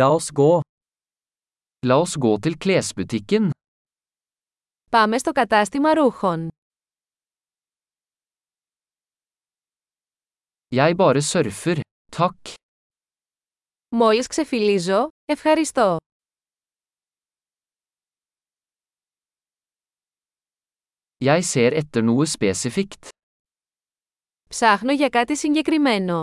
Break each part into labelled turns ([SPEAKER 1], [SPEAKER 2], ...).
[SPEAKER 1] La oss gå. La oss gå til klesbutikken.
[SPEAKER 2] Πάμε στο κατάστημα ρούχων.
[SPEAKER 1] Jeg bare surfer. Takk.
[SPEAKER 2] Μόλις ξεφυλίζω, ευχαριστώ.
[SPEAKER 1] Jeg ser etter noe spesifikt.
[SPEAKER 2] Ψάχνω για κάτι συγκεκριμένο.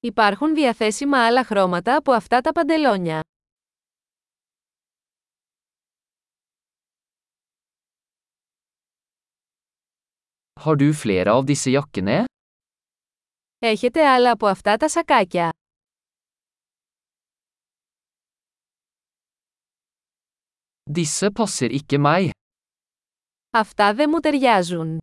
[SPEAKER 2] Υπάρχουν διαθέσιμα άλλα χρώματα από αυτά τα παντελόνια.
[SPEAKER 1] Har du flere av disse jakkene?
[SPEAKER 2] Έχετε άλλα από αυτά τα σακάκια.
[SPEAKER 1] Disse passer ikke meg.
[SPEAKER 2] Αυτά δεν μου ταιριάζουν.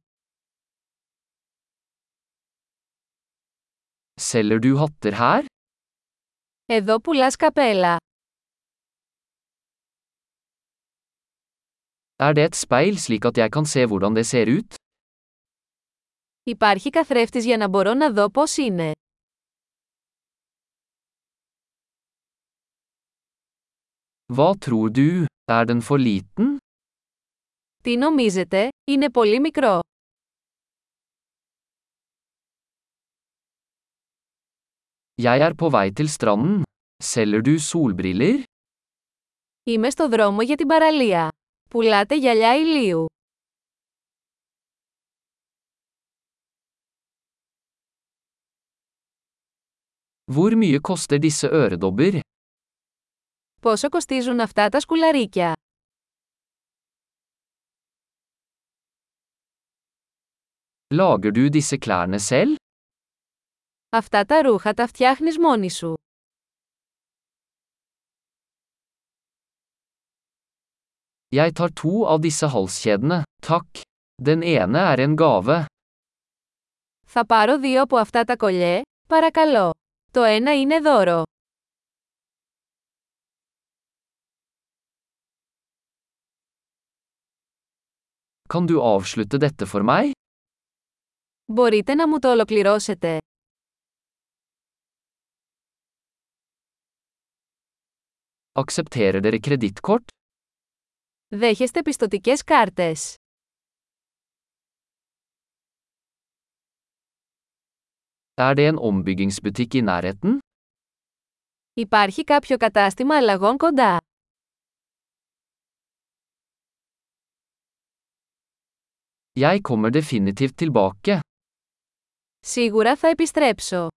[SPEAKER 1] Selger du hatter her?
[SPEAKER 2] Εδώ πουλάς καπέλα.
[SPEAKER 1] Er det et speil slik at jeg kan se hvordan det ser ut?
[SPEAKER 2] Υπάρχει καθρέφτης για να μπορώ να δω πώς είναι.
[SPEAKER 1] Hva tror du? Er den for liten?
[SPEAKER 2] Τι νομίζετε, είναι πολύ μικρό.
[SPEAKER 1] Jeg er på vei til stranden. Selger du solbriller?
[SPEAKER 2] Είμαι στο δρόμο για την παραλία. Πουλάτε γυαλιά ηλίου.
[SPEAKER 1] Hvor mye koster disse øredobber?
[SPEAKER 2] Πόσο κοστίζουν αυτά τα σκουλαρίκια.
[SPEAKER 1] Lager du disse klærne selv?
[SPEAKER 2] Αυτά τα ρούχα τα φτιάχνεις μόνη σου.
[SPEAKER 1] Jeg tar to av disse halskjedene, takk. Den ene er en gave.
[SPEAKER 2] Θα πάρω δύο από αυτά τα κολλιέ, παρακαλώ. Το ένα είναι δώρο.
[SPEAKER 1] Kan du avslutte dette for meg?
[SPEAKER 2] Μπορείτε να μου το ολοκληρώσετε.
[SPEAKER 1] Aksepterer dere kredittkort?
[SPEAKER 2] Δέχεστε πιστοτικές κάρτες.
[SPEAKER 1] Er det en ombyggingsbutikk i nærheten?
[SPEAKER 2] Υπάρχει κάποιο κατάστημα αλλαγών κοντά.
[SPEAKER 1] Jeg kommer definitivt tilbake.
[SPEAKER 2] Σίγουρα θα επιστρέψω.